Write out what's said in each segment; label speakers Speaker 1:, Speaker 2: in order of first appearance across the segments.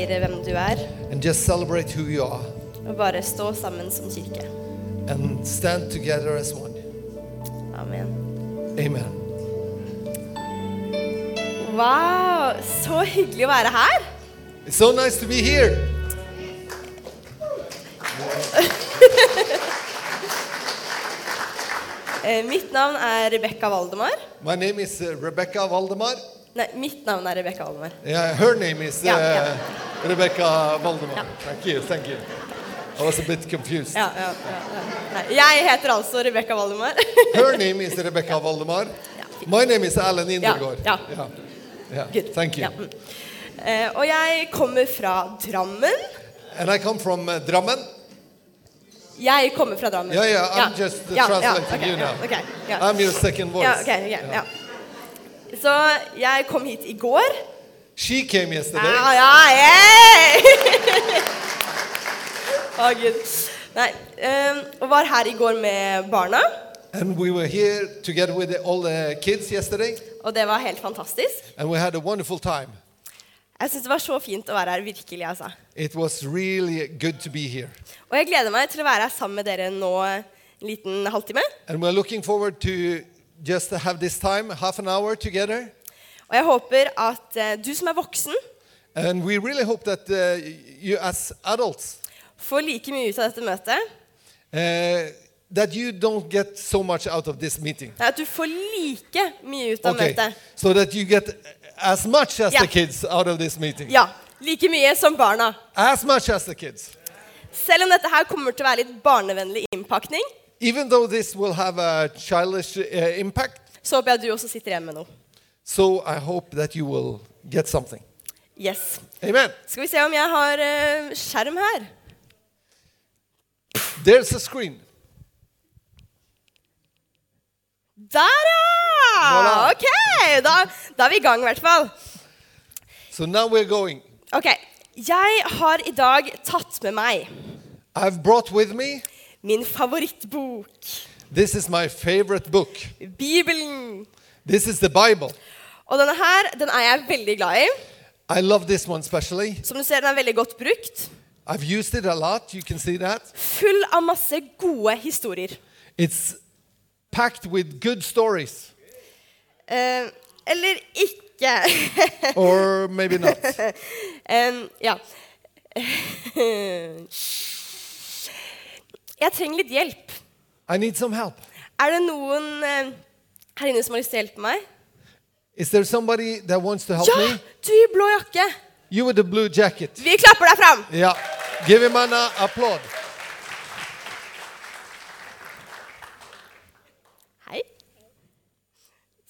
Speaker 1: sier hvem du er,
Speaker 2: and just celebrate who you are
Speaker 1: og bare stå sammen som kirke.
Speaker 2: and stand together as one.
Speaker 1: Amen.
Speaker 2: Amen.
Speaker 1: Wow, så hyggelig å være her.
Speaker 2: It's so nice to be here.
Speaker 1: Eh, mitt navn er Rebekka Valdemar.
Speaker 2: My name is uh, Rebecca Valdemar.
Speaker 1: Nei, mitt navn er Rebekka Valdemar.
Speaker 2: Yeah, her name is uh,
Speaker 1: Yeah, yeah.
Speaker 2: Rebecca Valdemar.
Speaker 1: Yeah.
Speaker 2: Thank you, thank you. I was a bit confused.
Speaker 1: Ja, ja, ja, ja. Nei, jeg heter altså Rebekka Valdemar.
Speaker 2: Her name is Rebecca Valdemar.
Speaker 1: Yeah.
Speaker 2: My name is Alan Indergaard.
Speaker 1: yeah.
Speaker 2: yeah. Yeah,
Speaker 1: Good.
Speaker 2: Thank you.
Speaker 1: Ja, mm. Eh, og jeg kommer fra Drammen.
Speaker 2: And I come from uh, Drammen.
Speaker 1: Jeg kommer fra Drammen.
Speaker 2: Yeah, yeah, I'm just uh, translating
Speaker 1: ok,
Speaker 2: you now.
Speaker 1: Ja, ok, ja.
Speaker 2: I'm your second voice.
Speaker 1: ja, ok, ok, ja. Så jeg kom hit i går.
Speaker 2: She came yesterday.
Speaker 1: Ja, ja, yeah! Å, Gud. Nei, eh, og var her i går med barna,
Speaker 2: And we were here together with the, all the kids yesterday,
Speaker 1: og det var helt fantastisk.
Speaker 2: and we had a wonderful time.
Speaker 1: Jeg syns det var så fint å være her, virkelig, altså.
Speaker 2: It was really good to be here.
Speaker 1: Og jeg gleder meg til å være her sammen med dere nå en liten halvtime.
Speaker 2: And we're looking forward to just to have this time, half an hour together.
Speaker 1: Og jeg håper at eh, du som er voksen,
Speaker 2: And we really hope that uh, you, as adults,
Speaker 1: får like mye ut av dette møtet.
Speaker 2: uh, that you don't get so much out of this meeting.
Speaker 1: Nei, at du får like mye ut av møtet.
Speaker 2: So that you get as much as
Speaker 1: Yeah.
Speaker 2: the kids out of this meeting.
Speaker 1: Ja. Like mye som barna.
Speaker 2: As much as the kids.
Speaker 1: Selv om dette her kommer til å være litt barnevennlig innpakning,
Speaker 2: Even though this will have a childish uh, impact,
Speaker 1: så håper jeg du også sitter igjen med noe.
Speaker 2: so I hope that you will get something.
Speaker 1: Yes.
Speaker 2: Amen.
Speaker 1: Skal vi se om jeg har eh, skjerm her.
Speaker 2: There's a screen.
Speaker 1: Der, ja!
Speaker 2: Voilà.
Speaker 1: Ok, da, da er vi i gang i hvert fall.
Speaker 2: So now we're going.
Speaker 1: Ok, jeg har i dag tatt med meg
Speaker 2: I've brought with me,
Speaker 1: min favorittbok,
Speaker 2: this is my favorite book.
Speaker 1: Bibelen.
Speaker 2: This is the Bible.
Speaker 1: Og denne her, den er jeg veldig glad i.
Speaker 2: I love this one especially.
Speaker 1: Som du ser, den er veldig godt brukt.
Speaker 2: I've used it a lot, you can see that.
Speaker 1: Full av masse gode historier.
Speaker 2: It's packed with good stories,
Speaker 1: Eh, eller ikke.
Speaker 2: or maybe not.
Speaker 1: Eh, ja. Jeg trenger litt hjelp.
Speaker 2: I need some help.
Speaker 1: Er det noen eh, her inne som har lyst til å hjelpe meg?
Speaker 2: Is there somebody that wants to help
Speaker 1: Ja!
Speaker 2: me?
Speaker 1: Du i blå jakke.
Speaker 2: You with the blue jacket.
Speaker 1: Vi klapper deg fram.
Speaker 2: Yeah. Give him an uh, applaud.
Speaker 1: Hei.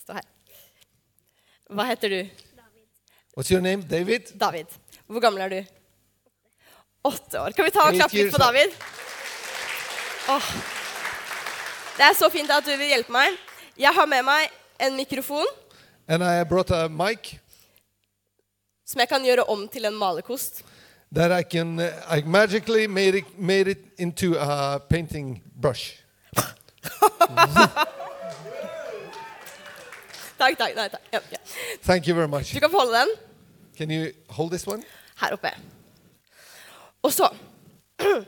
Speaker 1: Stå her. Hva heter du?
Speaker 2: What's your name? David?
Speaker 1: David. Hvor gammel er du? Åtte år. Kan vi ta og
Speaker 2: Eight
Speaker 1: klappe litt
Speaker 2: years
Speaker 1: på
Speaker 2: old.
Speaker 1: David? Åh. Det er så fint at du vil hjelpe meg. Jeg har med meg en mikrofon
Speaker 2: And I brought a mic
Speaker 1: som jeg kan gjøre om til en malerkost.
Speaker 2: that I can, uh, I magically made it, made it into a painting brush.
Speaker 1: Takk, takk. Nei, takk. Ja, ja.
Speaker 2: Thank you very much.
Speaker 1: Du kan få holde den.
Speaker 2: Can you hold this one?
Speaker 1: her oppe. Og så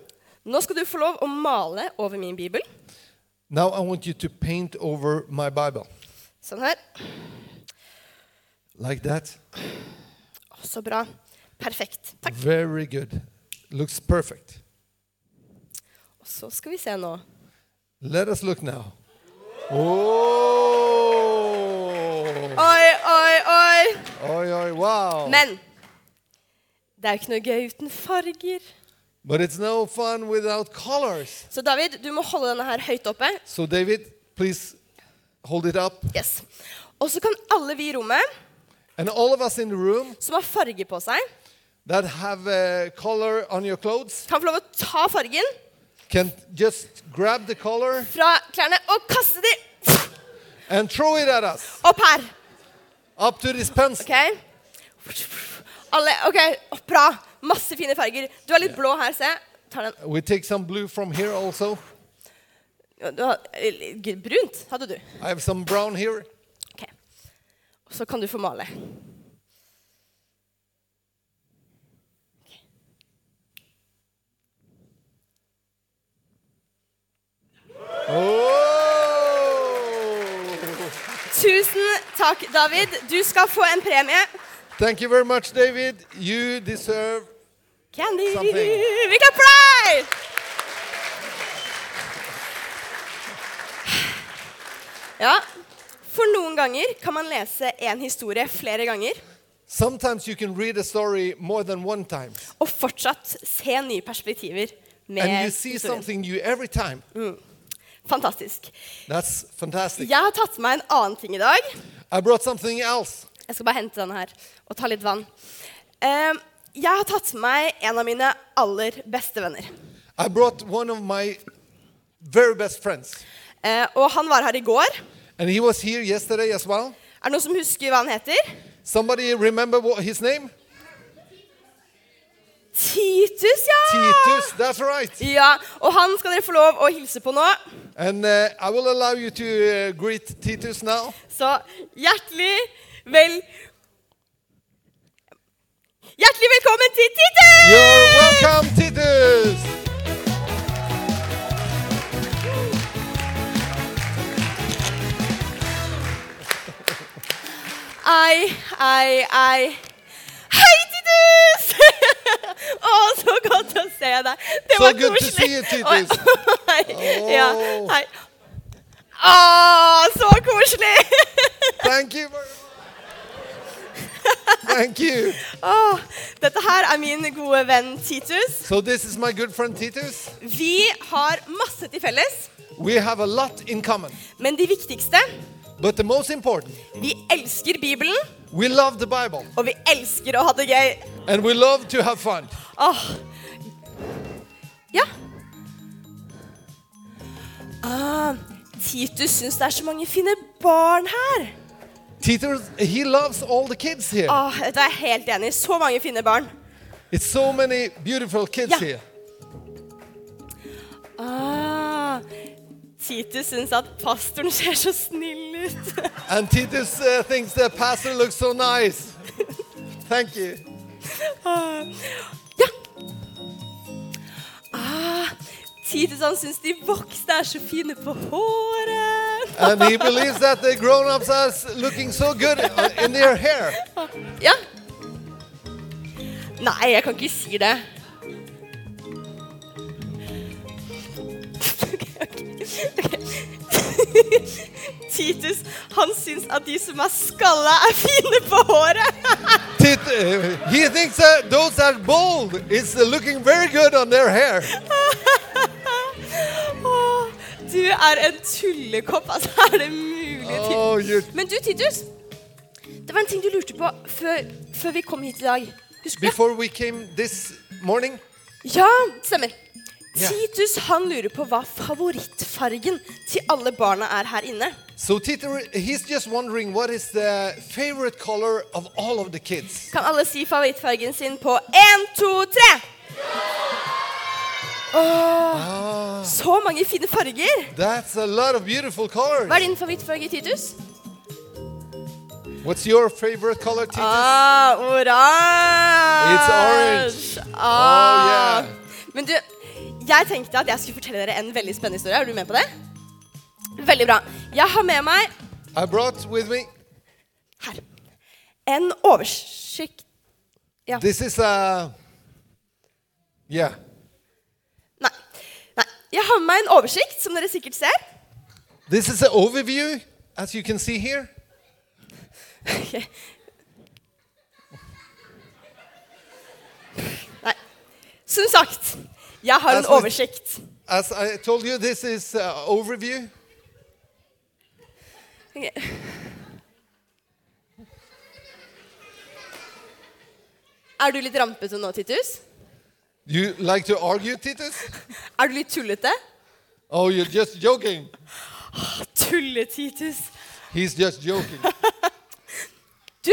Speaker 1: Nå skal du få lov å male over min bibel.
Speaker 2: Now I want you to paint over my Bible.
Speaker 1: Sånn her.
Speaker 2: Like that.
Speaker 1: Å, Så bra. Perfekt. Takk.
Speaker 2: Very good. Looks perfect.
Speaker 1: Og så skal vi se nå.
Speaker 2: Let us look now. Oh!
Speaker 1: Oi, oi, oi!
Speaker 2: Oi, oi, wow.
Speaker 1: Men det er jo ikke noe gøy uten farger.
Speaker 2: But it's no fun without colors.
Speaker 1: Så David, du må holde denne her høyt oppe.
Speaker 2: So, David, please hold it up.
Speaker 1: Yes. Og så kan alle vi i rommet
Speaker 2: And all of us in the room
Speaker 1: som har farge på seg,
Speaker 2: that have uh, color on your clothes
Speaker 1: kan få lov å ta fargen
Speaker 2: can just grab the color
Speaker 1: fra klærne og kaste de
Speaker 2: and throw it at us
Speaker 1: opp her.
Speaker 2: up to this pencil.
Speaker 1: Ok. Alle, ok, Bra. Masse fine farger. Du er litt blå her, se. Tar den.
Speaker 2: We take some blue from here also.
Speaker 1: Du har, gud, brunt hadde du.
Speaker 2: I have some brown here.
Speaker 1: Ok. Og så kan du få male.
Speaker 2: Oh!
Speaker 1: takk, David. Du skal få en premie.
Speaker 2: Thank you very much, David. You deserve.
Speaker 1: Candy.
Speaker 2: Something.
Speaker 1: Vi kan play! Ja, for noen ganger kan man lese en historie flere ganger
Speaker 2: Sometimes you can read a story more than one time,
Speaker 1: og fortsatt se nye perspektiver med
Speaker 2: and you see
Speaker 1: historien.
Speaker 2: something new every time.
Speaker 1: Fantastisk.
Speaker 2: That's fantastic.
Speaker 1: Jeg har tatt med meg en annen ting i dag.
Speaker 2: I brought something else.
Speaker 1: Jeg skal bare hente denne her og ta litt vann. Eh, Jeg har tatt med meg en av mine aller beste venner.
Speaker 2: I brought one of my very best friends,
Speaker 1: Eh, Og han var her i går.
Speaker 2: and he was here yesterday as well.
Speaker 1: Er det noen som husker hva han heter?
Speaker 2: Somebody remember what his name?
Speaker 1: Titus, ja!
Speaker 2: Titus. That's right.
Speaker 1: Ja, Og han skal dere få lov å hilse på nå.
Speaker 2: And uh, I will allow you to uh, greet Titus now.
Speaker 1: Så hjertelig vel... Hjertelig velkommen til Titus!
Speaker 2: You're welcome, Titus.
Speaker 1: Ei, ei, ei. Hei, Titus! Å, så godt å se deg. Det
Speaker 2: So
Speaker 1: var
Speaker 2: good to
Speaker 1: koselig.
Speaker 2: see you, Titus.
Speaker 1: Oi, hei. Ja,
Speaker 2: Oh.
Speaker 1: hei. Å, så koselig!
Speaker 2: Thank you. very much. Thank you.
Speaker 1: Å, dette her er min gode venn Titus.
Speaker 2: So this is my good friend Titus.
Speaker 1: Vi har masse til felles,
Speaker 2: We have a lot in common,
Speaker 1: men de viktigste
Speaker 2: but the most important,
Speaker 1: Vi elsker Bibelen,
Speaker 2: we love the Bible
Speaker 1: og vi elsker å ha det gøy.
Speaker 2: and we love to have fun.
Speaker 1: Åh. Ja. Ah, Titus syns det er så mange fine barn her.
Speaker 2: Titus, he loves all the kids here.
Speaker 1: Åh, dette er Ah, jeg helt enig i. Så mange fine barn.
Speaker 2: It's so many beautiful kids
Speaker 1: Yeah.
Speaker 2: here.
Speaker 1: Ah, Titus syns at pastoren ser så snill ut.
Speaker 2: And Titus uh, thinks the pastor looks so nice. Thank you.
Speaker 1: Ah, ja. Ah, Titus han syns de voksne er så fine på håret.
Speaker 2: And he believes that the grown-ups are s- looking so good uh, in their hair.
Speaker 1: Ja. Nei, jeg kan ikke si det. Ok, ok, ok. Titus, han syns at de som er skalla, er fine på håret.
Speaker 2: Tit- uh, he thinks that those that are bald is uh, looking very good on their hair.
Speaker 1: Åh, Du er en tullekopp, altså. Er det mulig? Titus?
Speaker 2: Oh, you.
Speaker 1: Men du, Titus. Det var en ting du lurte på før, før vi kom hit i dag. Husker du? det?
Speaker 2: Before we came this morning,
Speaker 1: Ja, stemmer.
Speaker 2: Ja.
Speaker 1: Titus han lurer på hva favorittfargen til alle barna er her inne.
Speaker 2: so Tito, he's just wondering what is the favorite color of all of the kids.
Speaker 1: Kan alle si favorittfargen sin på én, to, tre? Åh,
Speaker 2: Ah,
Speaker 1: så mange fine farger!
Speaker 2: that's a lot of beautiful colors.
Speaker 1: Hva er din favorittfarge, Titus?
Speaker 2: What's your favorite color, Titus?
Speaker 1: Ah, oransje!
Speaker 2: It's orange.
Speaker 1: Ah.
Speaker 2: Oh, yeah.
Speaker 1: Men du, jeg tenkte at jeg skulle fortelle dere en veldig spennende historie. Er du med på det? Veldig bra. Jeg har med meg
Speaker 2: I brought with me.
Speaker 1: her en oversikt Ja.
Speaker 2: This is a. Yeah.
Speaker 1: Nei. Nei. Jeg har med meg en oversikt, som dere sikkert ser.
Speaker 2: This is an overview, as you can see here.
Speaker 1: Ok. Nei. Som sagt, jeg har en
Speaker 2: Altså,
Speaker 1: oversikt.
Speaker 2: As I told you, this is an overview.
Speaker 1: Ok. Er du litt rampete nå, Titus?
Speaker 2: You like to argue, Titus?
Speaker 1: Er du litt tullete?
Speaker 2: Oh, you're just joking.
Speaker 1: Tulle-Titus.
Speaker 2: He's just joking.
Speaker 1: Du,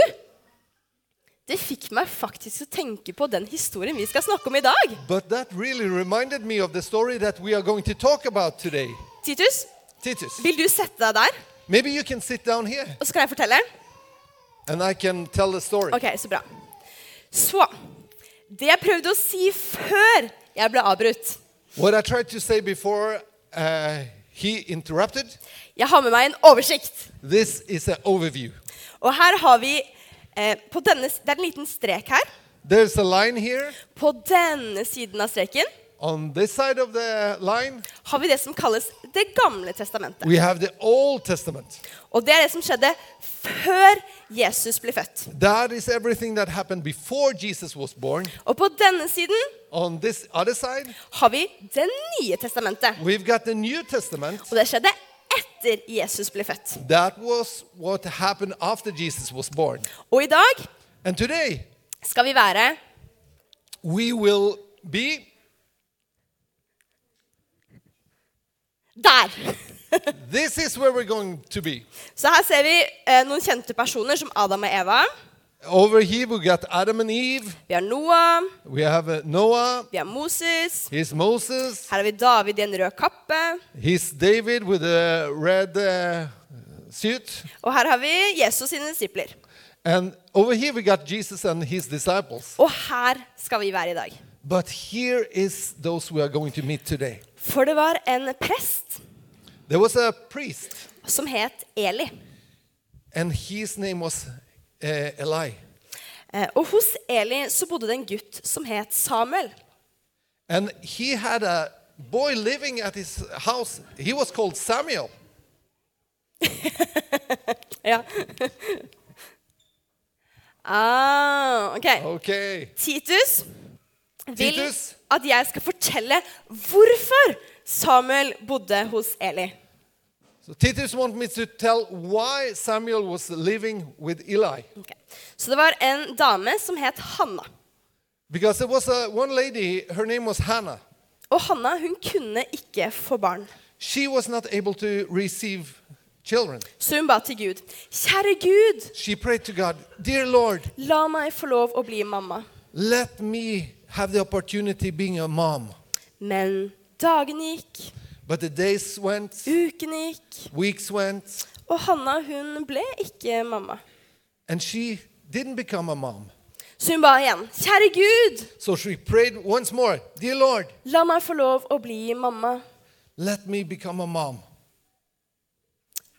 Speaker 1: det fikk meg faktisk til å tenke på den historien vi skal snakke om i dag.
Speaker 2: But that really reminded me of the story that we are going to talk about today.
Speaker 1: Titus,
Speaker 2: Titus,
Speaker 1: vil du sette deg der,
Speaker 2: maybe you can sit down here
Speaker 1: og så kan jeg fortelle?
Speaker 2: and I can tell the story.
Speaker 1: Ok, så bra. Så, det jeg prøvde å si før jeg ble avbrutt.
Speaker 2: What I tried to say before uh, he interrupted,
Speaker 1: Jeg har med meg en oversikt.
Speaker 2: this is an overview.
Speaker 1: Og her har vi eh, på denne, s- Det er en liten strek her.
Speaker 2: There's a line here.
Speaker 1: På denne siden av streken
Speaker 2: On this side of the line,
Speaker 1: har vi det som kalles Det gamle testamentet.
Speaker 2: we have the Old Testament.
Speaker 1: Og det er det som skjedde før Jesus ble født.
Speaker 2: That is everything that happened before Jesus was born.
Speaker 1: Og på denne siden
Speaker 2: On this other side,
Speaker 1: har vi Det nye testamentet.
Speaker 2: we've got the New Testament.
Speaker 1: Og det skjedde etter Jesus ble født.
Speaker 2: That was what happened after Jesus was born.
Speaker 1: Og i dag
Speaker 2: And today,
Speaker 1: skal vi være
Speaker 2: we will be
Speaker 1: der.
Speaker 2: this is where we're going to be.
Speaker 1: Så her ser vi eh, noen kjente personer som Adam og Eva.
Speaker 2: Over here, we got Adam and Eve,
Speaker 1: Vi har Noah.
Speaker 2: we have uh, Noah,
Speaker 1: Vi har Moses.
Speaker 2: he's Moses,
Speaker 1: Her har vi David i en rød kappe.
Speaker 2: he's David with a red uh, suit.
Speaker 1: Og her har vi Jesus sine disipler.
Speaker 2: And over here, we got Jesus and his disciples.
Speaker 1: Og her skal vi være i dag.
Speaker 2: But here is those we are going to meet today.
Speaker 1: For det var en prest
Speaker 2: There was a priest,
Speaker 1: som het Eli.
Speaker 2: and his name was uh, Eli.
Speaker 1: Eh, Og hos Eli så bodde det en gutt som het Samuel.
Speaker 2: And he had a boy living at his house. He was called Samuel.
Speaker 1: Ja. ah, ok.
Speaker 2: Okay.
Speaker 1: Titus vil
Speaker 2: Titus?
Speaker 1: at jeg skal fortelle hvorfor Samuel bodde hos Eli.
Speaker 2: So Titus wants me to tell why Samuel was living with Eli.
Speaker 1: Ok. Så det var en dame som het Hanna.
Speaker 2: Because there was a, one lady, her name was Hannah.
Speaker 1: Og Hanna hun kunne ikke få barn.
Speaker 2: She was not able to receive children.
Speaker 1: Så hun ba til Gud. Kjære Gud,
Speaker 2: She prayed to God, Dear Lord,
Speaker 1: la meg få lov å bli mamma.
Speaker 2: let me have the opportunity being a mom.
Speaker 1: Men dagene gikk,
Speaker 2: But the days went,
Speaker 1: ukene gikk,
Speaker 2: weeks went,
Speaker 1: og Hanna hun ble ikke mamma.
Speaker 2: and she didn't become a mom.
Speaker 1: Så hun ba igjen. Kjære Gud,
Speaker 2: So she prayed once more, Dear Lord,
Speaker 1: la meg få lov å bli mamma.
Speaker 2: let me become a mom.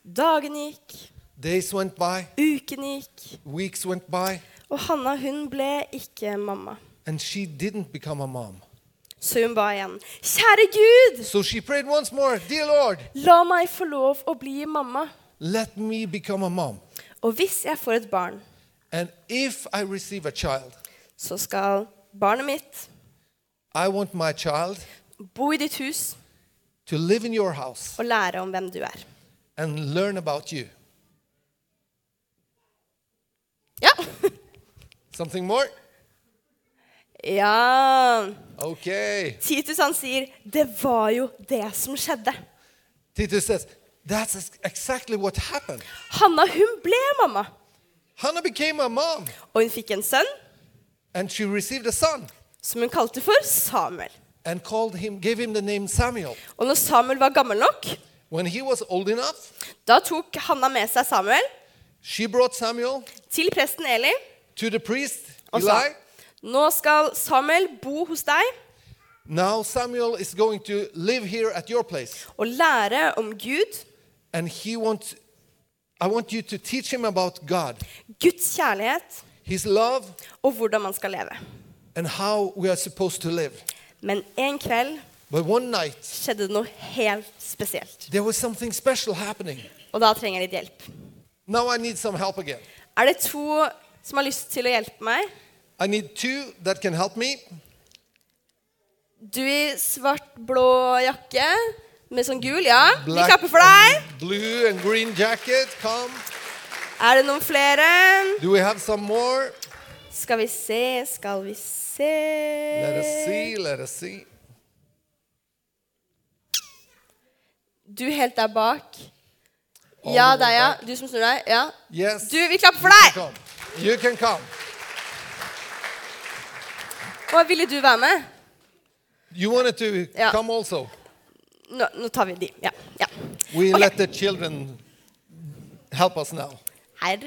Speaker 1: Dagene gikk,
Speaker 2: Days went by,
Speaker 1: ukene gikk,
Speaker 2: weeks went by,
Speaker 1: Og Hanna hun ble ikke mamma.
Speaker 2: and she didn't become a mom.
Speaker 1: Så hun ba igjen. Kjære Gud,
Speaker 2: So she prayed once more, Dear Lord,
Speaker 1: la meg få lov å bli mamma.
Speaker 2: let me become a mom.
Speaker 1: Og hvis jeg får et barn,
Speaker 2: And if I receive a child,
Speaker 1: så skal barnet mitt
Speaker 2: I want my child
Speaker 1: bo i ditt hus
Speaker 2: to live in your house
Speaker 1: og lære om hvem du er.
Speaker 2: and learn about you.
Speaker 1: Ja.
Speaker 2: Something more?
Speaker 1: ja.
Speaker 2: Okay.
Speaker 1: Titus han sier, det var jo det som skjedde.
Speaker 2: Titus says, That's ex- exactly what happened.
Speaker 1: Hanna hun ble mamma,
Speaker 2: Hannah became a mom,
Speaker 1: og hun fikk en sønn
Speaker 2: and she received a son
Speaker 1: som hun kalte for Samuel.
Speaker 2: and called him, gave him the name Samuel.
Speaker 1: Og når Samuel var gammel nok,
Speaker 2: When he was old enough,
Speaker 1: da tok Hanna med seg Samuel
Speaker 2: She brought Samuel
Speaker 1: til presten Eli,
Speaker 2: to the priest,
Speaker 1: og sa
Speaker 2: Eli.
Speaker 1: Nå skal Samuel bo hos deg
Speaker 2: Now Samuel is going to live here at your place.
Speaker 1: og lære om Gud,
Speaker 2: And he wants, I want you to teach him about God,
Speaker 1: Guds kjærlighet
Speaker 2: his love,
Speaker 1: og hvordan man skal leve.
Speaker 2: and how we are supposed to live.
Speaker 1: Men en kveld
Speaker 2: But one night,
Speaker 1: skjedde det noe helt spesielt,
Speaker 2: there was something special happening.
Speaker 1: og da trenger jeg litt hjelp.
Speaker 2: Now I need some help again.
Speaker 1: Er det to som har lyst til å hjelpe meg?
Speaker 2: I need two that can help me.
Speaker 1: Du i svart-blå jakke med sånn gul, ja. Vi
Speaker 2: Black
Speaker 1: klapper for deg.
Speaker 2: and Blue and green jacket, come.
Speaker 1: Er det noen flere?
Speaker 2: Do we have some more?
Speaker 1: Skal vi se, skal vi se
Speaker 2: Let
Speaker 1: Eh.
Speaker 2: us see, let us see.
Speaker 1: Du helt der bak. Ja,
Speaker 2: All the way
Speaker 1: deg, ja.
Speaker 2: back.
Speaker 1: Du som snur deg. Ja.
Speaker 2: Yes.
Speaker 1: Du, vi klapper for
Speaker 2: you can
Speaker 1: deg!
Speaker 2: come. You can come.
Speaker 1: Og ville du være med?
Speaker 2: You wanted to
Speaker 1: Yeah.
Speaker 2: come also.
Speaker 1: Nå, nå tar vi de. Ja. ja.
Speaker 2: We
Speaker 1: Ok.
Speaker 2: let the children help us now.
Speaker 1: Her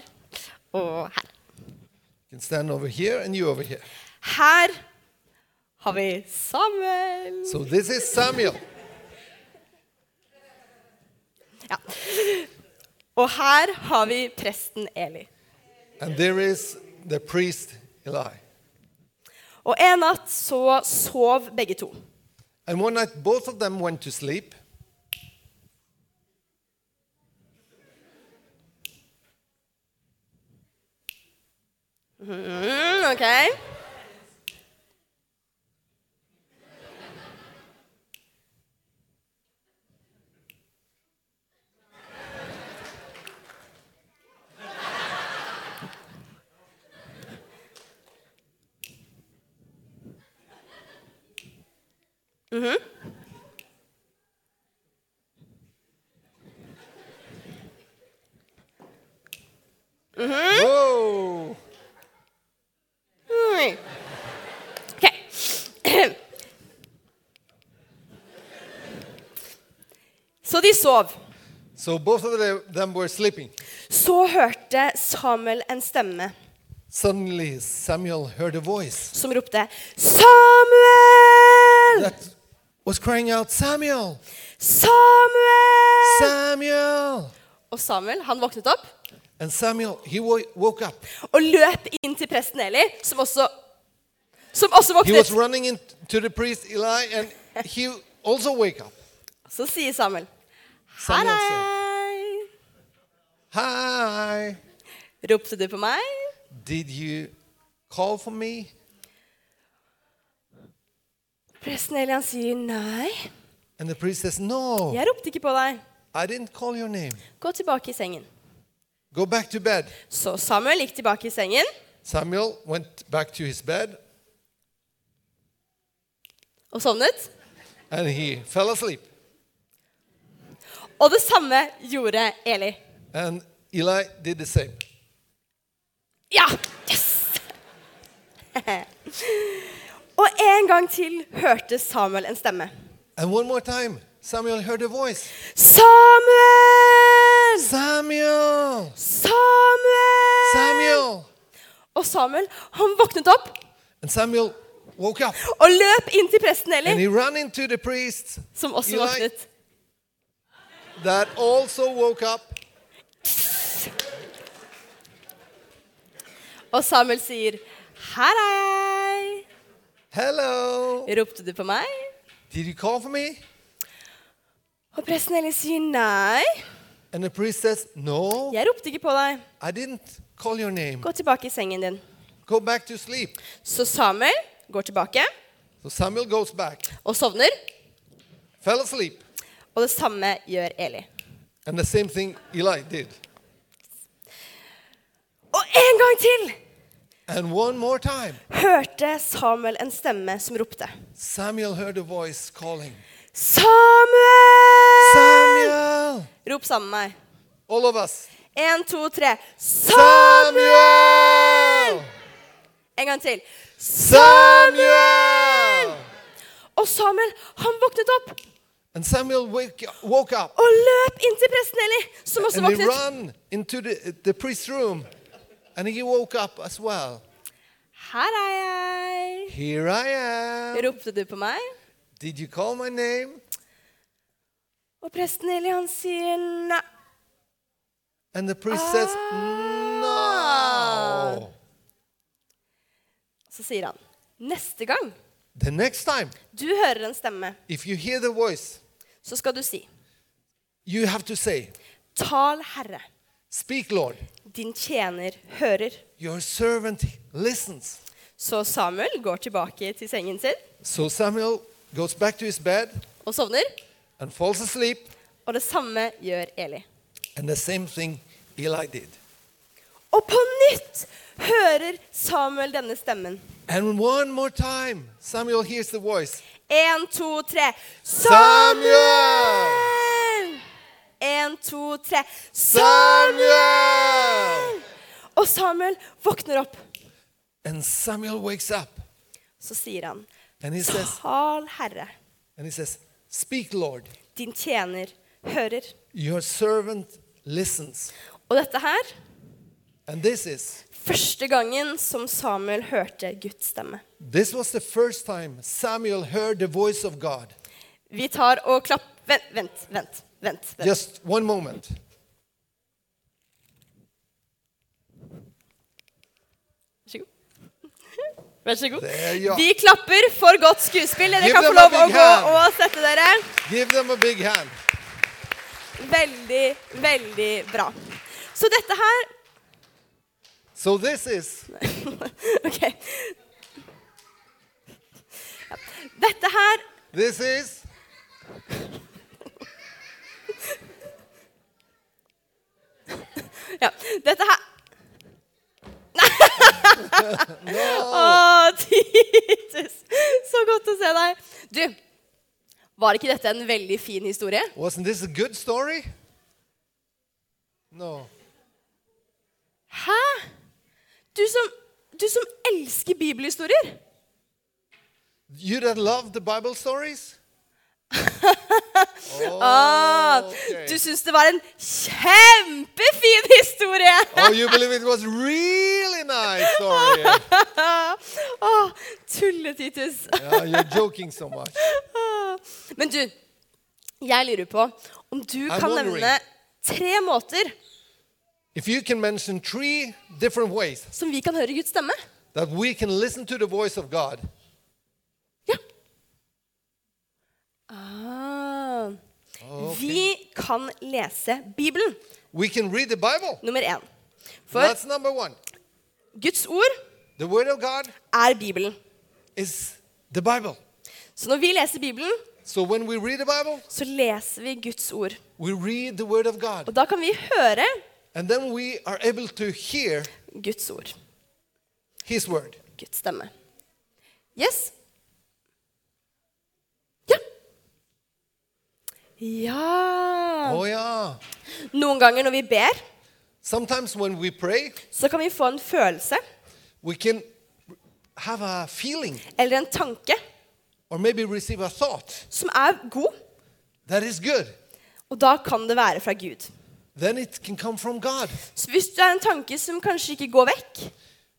Speaker 1: og her.
Speaker 2: You can stand over here and you over here.
Speaker 1: Her har vi Samuel.
Speaker 2: So this is Samuel.
Speaker 1: Ja. Og her har vi presten Eli.
Speaker 2: And there is the priest Eli.
Speaker 1: Og en natt så sov begge to.
Speaker 2: And one night, both of them went to sleep.
Speaker 1: Mm, ok.
Speaker 2: Whoa!
Speaker 1: Mm. Ok. Så de sov.
Speaker 2: So both of the- them were sleeping.
Speaker 1: Så hørte Samuel en stemme
Speaker 2: Suddenly, Samuel heard a voice
Speaker 1: som ropte Samuel!
Speaker 2: that was crying out, Samuel!
Speaker 1: Samuel!
Speaker 2: Samuel!
Speaker 1: Og Samuel han våknet opp
Speaker 2: And Samuel, he wo- woke up.
Speaker 1: og løp inn til presten Eli, som også, som også
Speaker 2: He was
Speaker 1: våknet.
Speaker 2: running into the priest Eli, and he also wake up.
Speaker 1: Så sier Samuel Hei,
Speaker 2: Samuel said,
Speaker 1: hei!
Speaker 2: Hi!
Speaker 1: Ropte du på meg?
Speaker 2: Did you call for me?
Speaker 1: Presten Eli han sier nei.
Speaker 2: And the priest says, No,
Speaker 1: Jeg ropte ikke på deg.
Speaker 2: I didn't call your name.
Speaker 1: Gå tilbake i sengen.
Speaker 2: Go back to bed.
Speaker 1: Så Samuel gikk tilbake i sengen,
Speaker 2: Samuel went back to his bed
Speaker 1: og sovnet.
Speaker 2: and he fell asleep.
Speaker 1: Og det samme gjorde Eli.
Speaker 2: And Eli did the same.
Speaker 1: Ja! Yes! og en gang til hørte Samuel en stemme.
Speaker 2: And one more time, Samuel heard a voice
Speaker 1: Samuel!
Speaker 2: Samuel!
Speaker 1: Samuel!
Speaker 2: Samuel!
Speaker 1: Og Samuel han våknet opp
Speaker 2: And Samuel woke up
Speaker 1: og løp inn til presten
Speaker 2: and
Speaker 1: Eli,
Speaker 2: he ran into the priest
Speaker 1: som også
Speaker 2: Eli.
Speaker 1: våknet.
Speaker 2: that also woke up.
Speaker 1: Og Samuel sier, her er jeg.
Speaker 2: Hello!
Speaker 1: Ropte du på meg?
Speaker 2: Did you call for me?
Speaker 1: Og presten Eli sier, nei,
Speaker 2: And the priest says, No,
Speaker 1: jeg ropte ikke på deg.
Speaker 2: I didn't call your name.
Speaker 1: Gå tilbake i sengen din.
Speaker 2: Go back to sleep.
Speaker 1: Så Samuel går tilbake
Speaker 2: So Samuel goes back,
Speaker 1: og sovner,
Speaker 2: fell asleep.
Speaker 1: og det samme gjør Eli.
Speaker 2: And the same thing Eli did.
Speaker 1: Og en gang til
Speaker 2: And one more time,
Speaker 1: hørte Samuel en stemme som ropte.
Speaker 2: Samuel heard a voice calling,
Speaker 1: Samuel!
Speaker 2: Samuel!
Speaker 1: Rop sammen med meg.
Speaker 2: All of us.
Speaker 1: En, to, tre.
Speaker 2: Samuel!
Speaker 1: En gang til.
Speaker 2: Samuel!
Speaker 1: Og Samuel, han våknet opp
Speaker 2: And Samuel wake, woke up
Speaker 1: og løp inn til presten Eli, som også
Speaker 2: and he
Speaker 1: våknet.
Speaker 2: ran into the, the priest's room. And he woke up as well.
Speaker 1: Her er jeg.
Speaker 2: Here I am.
Speaker 1: Ropte du på meg?
Speaker 2: Did you call my name?
Speaker 1: Og presten Eli, han sier nei.
Speaker 2: And the priest says,
Speaker 1: Ah.
Speaker 2: No.
Speaker 1: Så sier han, neste gang
Speaker 2: The next time,
Speaker 1: du hører en stemme,
Speaker 2: if you hear the voice,
Speaker 1: så skal du si,
Speaker 2: you have to say,
Speaker 1: tal Herre,
Speaker 2: Speak, Lord.
Speaker 1: din tjener hører.
Speaker 2: Your servant listens.
Speaker 1: Så Samuel går tilbake til sengen sin
Speaker 2: So Samuel goes back to his bed
Speaker 1: og sovner,
Speaker 2: and falls asleep.
Speaker 1: og det samme gjør Eli.
Speaker 2: And the same thing Eli did.
Speaker 1: Og på nytt hører Samuel denne stemmen.
Speaker 2: And one more time, Samuel hears the voice
Speaker 1: En, to, tre.
Speaker 2: Samuel!
Speaker 1: Samuel! En, to, tre.
Speaker 2: Samuel!
Speaker 1: Og Samuel våkner opp.
Speaker 2: And Samuel wakes up
Speaker 1: Så sier han,
Speaker 2: and he says,
Speaker 1: tal Herre,
Speaker 2: and he says, Speak, Lord.
Speaker 1: din tjener hører.
Speaker 2: Your servant listens.
Speaker 1: Og dette her,
Speaker 2: And this is,
Speaker 1: første gangen som Samuel hørte Guds stemme.
Speaker 2: this was the first time Samuel heard the voice of God.
Speaker 1: Vi tar og klapp... Vent, vent, vent. vent, vent.
Speaker 2: Just one moment.
Speaker 1: Vær så god.
Speaker 2: There you are.
Speaker 1: Vi klapper for godt skuespill. Dere
Speaker 2: Give
Speaker 1: kan få
Speaker 2: them a
Speaker 1: lov å
Speaker 2: big
Speaker 1: gå
Speaker 2: hand.
Speaker 1: og sette dere.
Speaker 2: Give them a big hand.
Speaker 1: Veldig, veldig bra. Så dette her
Speaker 2: So this is
Speaker 1: Ok. Ja. Dette her
Speaker 2: this is
Speaker 1: Ja, dette her Å, Titus! Så godt å se deg. Du, var ikke dette en veldig fin historie?
Speaker 2: wasn't this a good story? No.
Speaker 1: Hæ? Du som, du som elsker bibelhistorier?
Speaker 2: You that love the Bible stories?
Speaker 1: Ah,
Speaker 2: okay.
Speaker 1: Du syns det var en kjempefin historie!
Speaker 2: Oh, you believe it was really nice story.
Speaker 1: Å, tulle-Titus.
Speaker 2: Yeah, you're joking so much.
Speaker 1: Men du, jeg lurer på om du
Speaker 2: I'm
Speaker 1: kan
Speaker 2: wondering.
Speaker 1: nevne tre måter
Speaker 2: If you can mention three different ways
Speaker 1: som vi kan høre Guds stemme.
Speaker 2: that we can listen to the voice of God,
Speaker 1: Ja. Ah. Vi kan lese Bibelen.
Speaker 2: we can read the Bible.
Speaker 1: Nummer én. For
Speaker 2: That's number one.
Speaker 1: Guds ord
Speaker 2: The Word of God
Speaker 1: er Bibelen.
Speaker 2: is the Bible.
Speaker 1: Så når vi leser Bibelen,
Speaker 2: So when we read the Bible,
Speaker 1: så leser vi Guds ord.
Speaker 2: we read the Word of God.
Speaker 1: Og da kan vi høre
Speaker 2: And then we are able to hear
Speaker 1: Guds ord.
Speaker 2: His Word.
Speaker 1: Guds stemme. Yes? Ja. Ja
Speaker 2: Oh, yeah.
Speaker 1: Noen ganger når vi ber,
Speaker 2: Sometimes when we pray,
Speaker 1: så kan vi få en følelse
Speaker 2: we can have a feeling
Speaker 1: eller en tanke
Speaker 2: or maybe receive a thought
Speaker 1: som er god,
Speaker 2: that is good.
Speaker 1: og da kan det være fra Gud.
Speaker 2: Then it can come from God.
Speaker 1: Så hvis det er en tanke som kanskje ikke går vekk,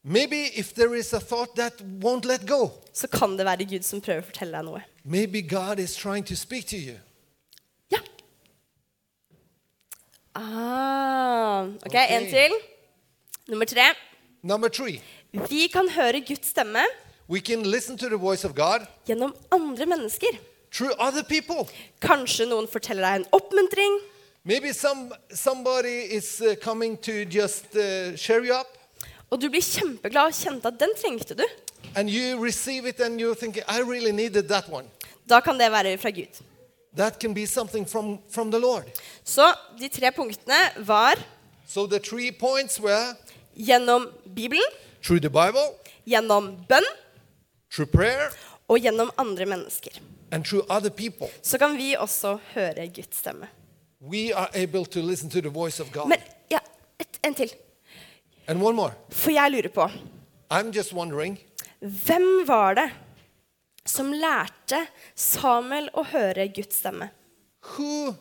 Speaker 2: Maybe if there is a thought that won't let go,
Speaker 1: så kan det være Gud som prøver å fortelle deg noe.
Speaker 2: maybe God is trying to speak to you.
Speaker 1: Ja. Ah, ok,
Speaker 2: Ok.
Speaker 1: en til. Nummer tre.
Speaker 2: Number three,
Speaker 1: Vi kan høre Guds stemme
Speaker 2: we can listen to the voice of God
Speaker 1: gjennom andre mennesker.
Speaker 2: through other people.
Speaker 1: Kanskje noen forteller deg en oppmuntring.
Speaker 2: Maybe some, somebody is uh, coming to just uh, cheer you up,
Speaker 1: Og du blir kjempeglad og kjente at den trengte du.
Speaker 2: and you receive it and you're thinking, I really needed that one.
Speaker 1: Da kan det være fra Gud.
Speaker 2: That can be something from, from the Lord.
Speaker 1: Så de tre punktene var
Speaker 2: So the three points were
Speaker 1: gjennom Bibelen,
Speaker 2: through the Bible,
Speaker 1: gjennom bønn
Speaker 2: through prayer,
Speaker 1: og gjennom andre mennesker.
Speaker 2: and through other people.
Speaker 1: Så kan vi også høre Guds stemme.
Speaker 2: We are able to listen to the voice of God.
Speaker 1: Men ja, et, en til.
Speaker 2: And one more.
Speaker 1: For jeg lurer på
Speaker 2: I'm just wondering
Speaker 1: Hvem var det som lærte Samuel å høre Guds stemme?
Speaker 2: who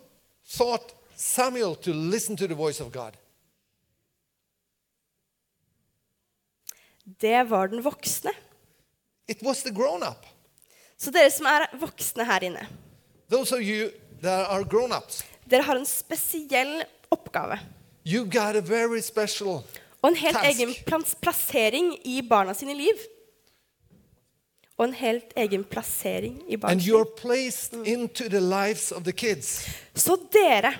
Speaker 2: taught Samuel to listen to the voice of God?
Speaker 1: Det var den voksne.
Speaker 2: It was the grown up.
Speaker 1: Så dere som er voksne her inne,
Speaker 2: Those of you that are grown ups,
Speaker 1: dere har en spesiell oppgave.
Speaker 2: you got a very special
Speaker 1: Og en helt
Speaker 2: Task.
Speaker 1: egen plans plassering i barna sine liv. Og en helt egen plassering i barna
Speaker 2: and
Speaker 1: sine
Speaker 2: you're placed into the lives of the kids
Speaker 1: Så dere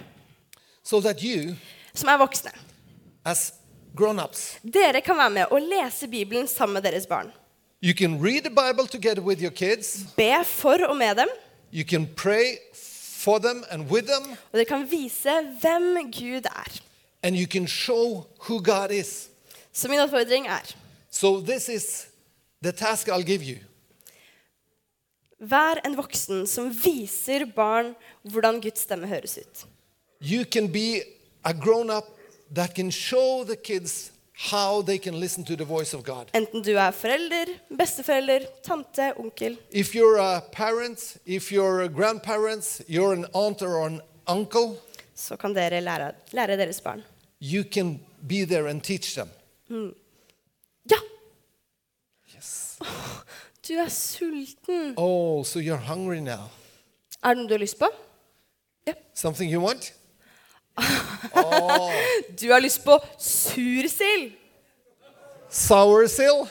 Speaker 2: so that you,
Speaker 1: som er voksne,
Speaker 2: as grown ups,
Speaker 1: dere kan være med og lese Bibelen sammen med deres barn.
Speaker 2: you can read the Bible together with your kids,
Speaker 1: Be for og med dem,
Speaker 2: you can pray for them and with them,
Speaker 1: og dere kan vise hvem Gud er.
Speaker 2: and you can show who God is.
Speaker 1: Så min oppfordring er
Speaker 2: So, this is the task I'll give you.
Speaker 1: vær en voksen som viser barn hvordan Guds stemme høres ut.
Speaker 2: You can be a grown up that can show the kids how they can listen to the voice of God.
Speaker 1: Enten du er forelder, besteforelder, tante, onkel.
Speaker 2: If you're a parent, if you're a grandparents, you're an aunt or an uncle,
Speaker 1: så kan dere lære, lære deres barn.
Speaker 2: you can be there and teach them.
Speaker 1: Ja! Åh, du er sulten.
Speaker 2: Oh, so you're hungry now.
Speaker 1: Er det noe du har lyst på?
Speaker 2: Something you want?
Speaker 1: Du har lyst på sursild!
Speaker 2: Sour sill?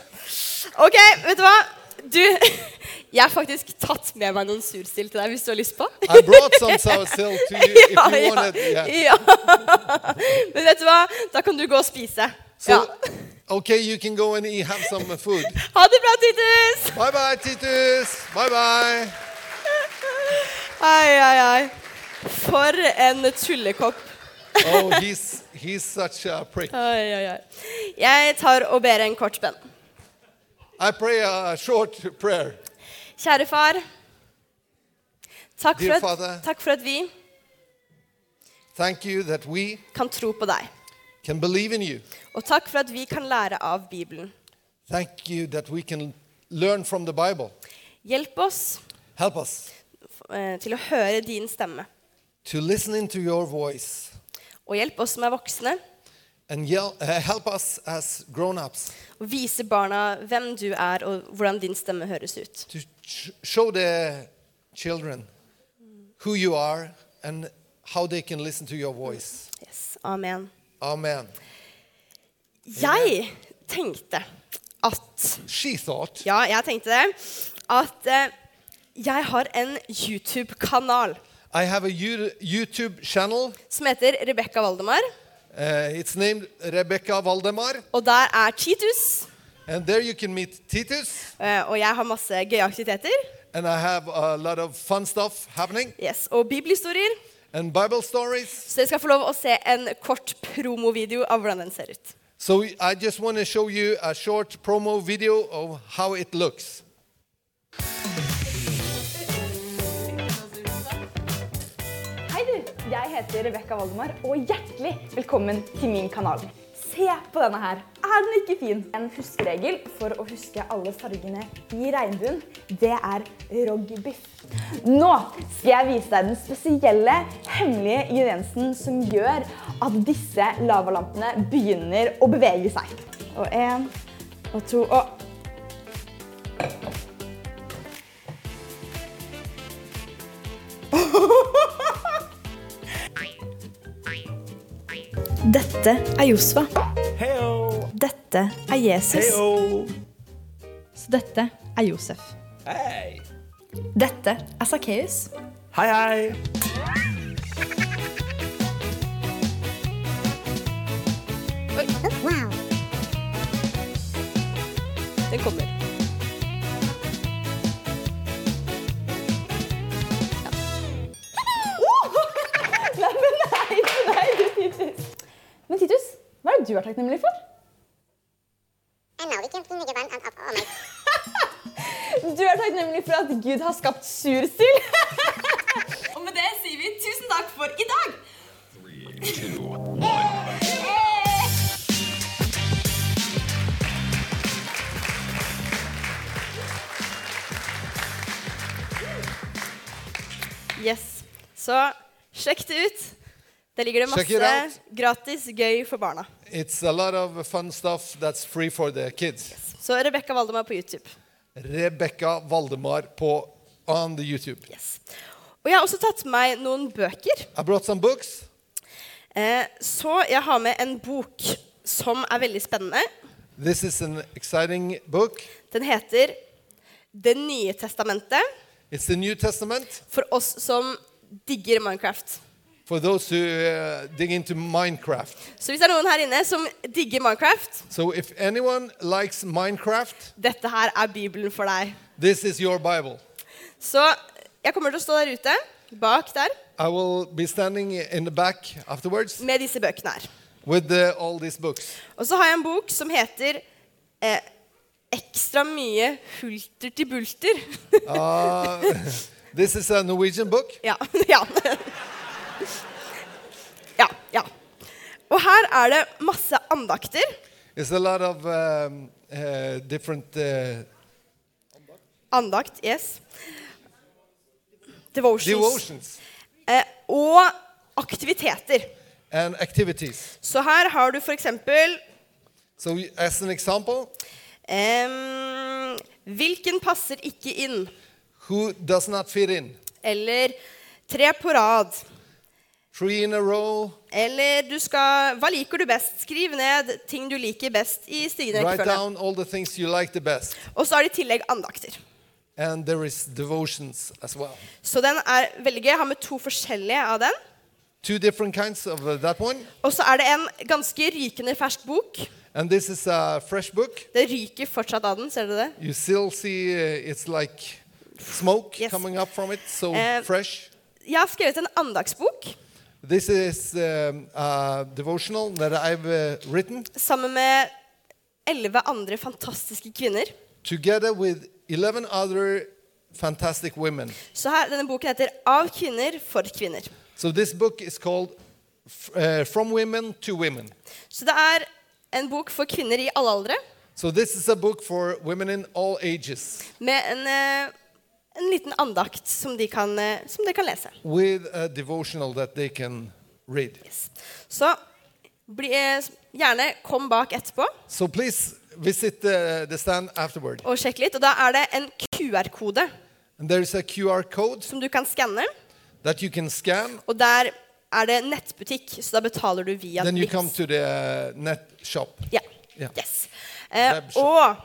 Speaker 1: Ok, vet du hva? Du, jeg har faktisk tatt med meg noen sursild til deg hvis du har lyst på.
Speaker 2: I brought some sour silk to you if
Speaker 1: Ja,
Speaker 2: you
Speaker 1: ja.
Speaker 2: want it. Yeah.
Speaker 1: ja. Men vet du hva? Da kan du gå og spise. Ja.
Speaker 2: So, okay, you can go and eat, have some food.
Speaker 1: Ha det bra, Titus!
Speaker 2: Bye bye, Titus. Bye bye.
Speaker 1: Ai, ai, ai. For en tullekopp.
Speaker 2: Oh, he's he's such a prick.
Speaker 1: Ai, ai, ai. Jeg tar og ber en kort bønn.
Speaker 2: I pray a short prayer.
Speaker 1: Kjære far. Takk
Speaker 2: Dear
Speaker 1: for,
Speaker 2: Father.
Speaker 1: at, takk for at vi
Speaker 2: Thank you that we
Speaker 1: kan tro på deg.
Speaker 2: can believe in you.
Speaker 1: Og takk for at vi kan lære av Bibelen.
Speaker 2: Thank you that we can learn from the Bible.
Speaker 1: Hjelp oss
Speaker 2: Help us
Speaker 1: eh, til å høre din stemme.
Speaker 2: to listen into your voice
Speaker 1: Og hjelp oss som er voksne,
Speaker 2: and yell, uh, help us as grown-ups
Speaker 1: og vise barna hvem du er, og hvordan din stemme høres ut.
Speaker 2: to sh- show the children who you are and how they can listen to your voice.
Speaker 1: Yes, Amen.
Speaker 2: Amen.
Speaker 1: Jeg tenkte at
Speaker 2: She thought
Speaker 1: Ja, jeg tenkte det. At eh, jeg har en YouTube-kanal
Speaker 2: I have a Yu- YouTube channel.
Speaker 1: som heter Rebekka Valdemar.
Speaker 2: Uh, it's named Rebecca Valdemar,
Speaker 1: Og der er Titus.
Speaker 2: and there you can meet Titus.
Speaker 1: eh, og jeg har masse gøye aktiviteter.
Speaker 2: And I have a lot of fun stuff happening
Speaker 1: Yes, Og bibelhistorier.
Speaker 2: and Bible stories.
Speaker 1: Så dere skal få lov å se en kort promovideo av hvordan den ser ut.
Speaker 2: So I just want to show you a short promo video of how it looks.
Speaker 3: Hei du, jeg heter Rebekka Valdemar, og hjertelig velkommen til min kanal. Se på denne her, er den ikke fin? En huskeregel for å huske alle fargene i regnbuen, det er rogbiff. Nå skal jeg vise deg den spesielle, hemmelige ingrediensen som gjør at disse lavalampene begynner å bevege seg. Og en, og to, og Dette er Josva.
Speaker 4: Heyo!
Speaker 3: Dette er Jesus.
Speaker 4: Heyo!
Speaker 3: Så dette er Josef.
Speaker 4: Hei!
Speaker 3: Dette er Sakkeus.
Speaker 4: Hei, hei!
Speaker 1: Den kommer.
Speaker 3: Nei, men nei, nei, du Titus. Men Titus, hva er det du er takknemlig for?
Speaker 5: En navikampen ligger varmt opp over meg.
Speaker 3: Du er takknemlig for at Gud har skapt sursild.
Speaker 1: Og med det sier vi tusen takk for i dag. Yes. Så sjekk det ut. Der ligger det
Speaker 2: Check it
Speaker 1: masse gratis gøy for barna.
Speaker 2: It's a lot of fun stuff that's free for the kids.
Speaker 1: Så Rebekka Valdemar på YouTube.
Speaker 2: Rebecca Valdemar på, on the YouTube.
Speaker 1: Yes. Og jeg har også tatt med meg noen bøker.
Speaker 2: I brought some books.
Speaker 1: Eh, så jeg har med en bok som er veldig spennende.
Speaker 2: This is an exciting book.
Speaker 1: Den heter Det nye testamentet
Speaker 2: It's the New Testament
Speaker 1: for oss som digger Minecraft.
Speaker 2: for those who uh, dig into Minecraft.
Speaker 1: Så hvis det er noen her inne som digger Minecraft,
Speaker 2: So if anyone likes Minecraft,
Speaker 1: dette her er Bibelen for deg.
Speaker 2: this is your Bible.
Speaker 1: Så jeg kommer til å stå der ute, bak der,
Speaker 2: I will be standing in the back afterwards
Speaker 1: med disse bøkene her.
Speaker 2: with uh, all these books.
Speaker 1: Og så har jeg en bok som heter eh, Ekstra mye hulter til bulter.
Speaker 2: This is a Norwegian book.
Speaker 1: ja. Ja. ja. Ja. Og her er det masse andakter.
Speaker 2: It's a lot of um, uh, different. Uh,
Speaker 1: Andakt, yes. Devotions.
Speaker 2: Devotions
Speaker 1: Eh, og aktiviteter.
Speaker 2: and activities.
Speaker 1: Så her har du for eksempel
Speaker 2: So, y- as an example,
Speaker 1: ehm, Hvilken passer ikke inn?
Speaker 2: who does not fit in?
Speaker 1: Eller Tre på rad.
Speaker 2: Three in a row.
Speaker 6: Eller du skal Hva liker du best? Skriv ned ting du liker best i stigende
Speaker 2: Write
Speaker 6: rekkefølge.
Speaker 2: down all the things you like the best.
Speaker 6: Og så er det i tillegg andakter.
Speaker 2: And there is devotions as well.
Speaker 6: Så den er veldig gøy. Jeg har med to forskjellige av den.
Speaker 2: Two different kinds of uh, that one.
Speaker 6: Og så er det en ganske rykende fersk bok.
Speaker 2: And this is a fresh book.
Speaker 6: Det ryker fortsatt av den, ser du det?
Speaker 2: You still see uh, it's like smoke
Speaker 6: Yes.
Speaker 2: coming up from it, so
Speaker 6: Eh,
Speaker 2: fresh.
Speaker 6: Jeg har skrevet en andagsbok
Speaker 2: This is um, a devotional that I've uh, written
Speaker 6: sammen med elleve andre fantastiske kvinner.
Speaker 2: together with 11 other fantastic women.
Speaker 6: Så her, denne boken heter 'Av kvinner for kvinner'.
Speaker 2: So this book is called F- uh, From Women to Women.
Speaker 6: Så det er en bok for kvinner i alle aldre
Speaker 2: So this is a book for women in all ages
Speaker 6: med en, eh, en liten andakt som de kan, eh, som de kan lese.
Speaker 2: with a devotional that they can read.
Speaker 6: Yes. Så bli, eh, gjerne kom bak etterpå
Speaker 2: So please visit uh, the, the stand afterward.
Speaker 6: og sjekk litt. Og da er det en QR-kode
Speaker 2: And there is a QR code
Speaker 6: som du kan skanne,
Speaker 2: that you can scan.
Speaker 6: og der er det nettbutikk, så da betaler du via
Speaker 2: Then you
Speaker 6: Vipps.
Speaker 2: come to the uh, net shop.
Speaker 6: Ja.
Speaker 2: Ja.
Speaker 6: Yes. Eh,
Speaker 2: Webshop.
Speaker 6: og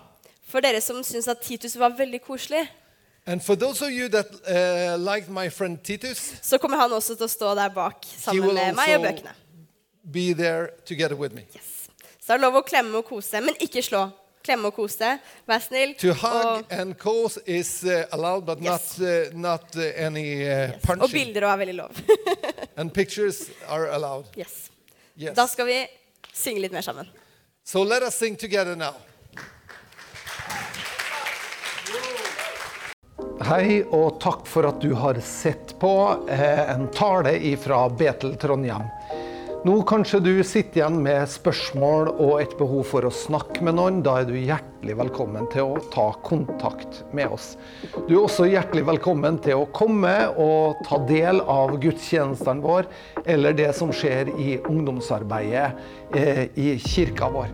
Speaker 6: for dere som syns at Titus var veldig koselig,
Speaker 2: And for those of you that uh, liked my friend Titus,
Speaker 6: så kommer han også til å stå der bak
Speaker 2: he
Speaker 6: sammen
Speaker 2: will
Speaker 6: med meg og
Speaker 2: also
Speaker 6: bøkene.
Speaker 2: be there together with me.
Speaker 6: Yes. Så det er lov å klemme og kose, men ikke slå. Klemme og kose, vær snill.
Speaker 2: To hug
Speaker 6: og,
Speaker 2: and course is uh, allowed, but
Speaker 6: Oh. Yes.
Speaker 2: not uh, not uh, any uh,
Speaker 6: og
Speaker 2: punching.
Speaker 6: bilder òg er veldig lov.
Speaker 2: And pictures are allowed.
Speaker 6: yes.
Speaker 2: Yes.
Speaker 6: Da skal vi synge litt mer sammen.
Speaker 2: So let us sing together now.
Speaker 7: Hei, og takk for at du har sett på eh, en tale fra Betel Trondheim. Nå kanskje du sitter igjen med spørsmål og et behov for å snakke med noen. Da er du hjertelig velkommen til å ta kontakt med oss. Du er også hjertelig velkommen til å komme og ta del av gudstjenestene våre, eller det som skjer i ungdomsarbeidet eh, i kirka vår.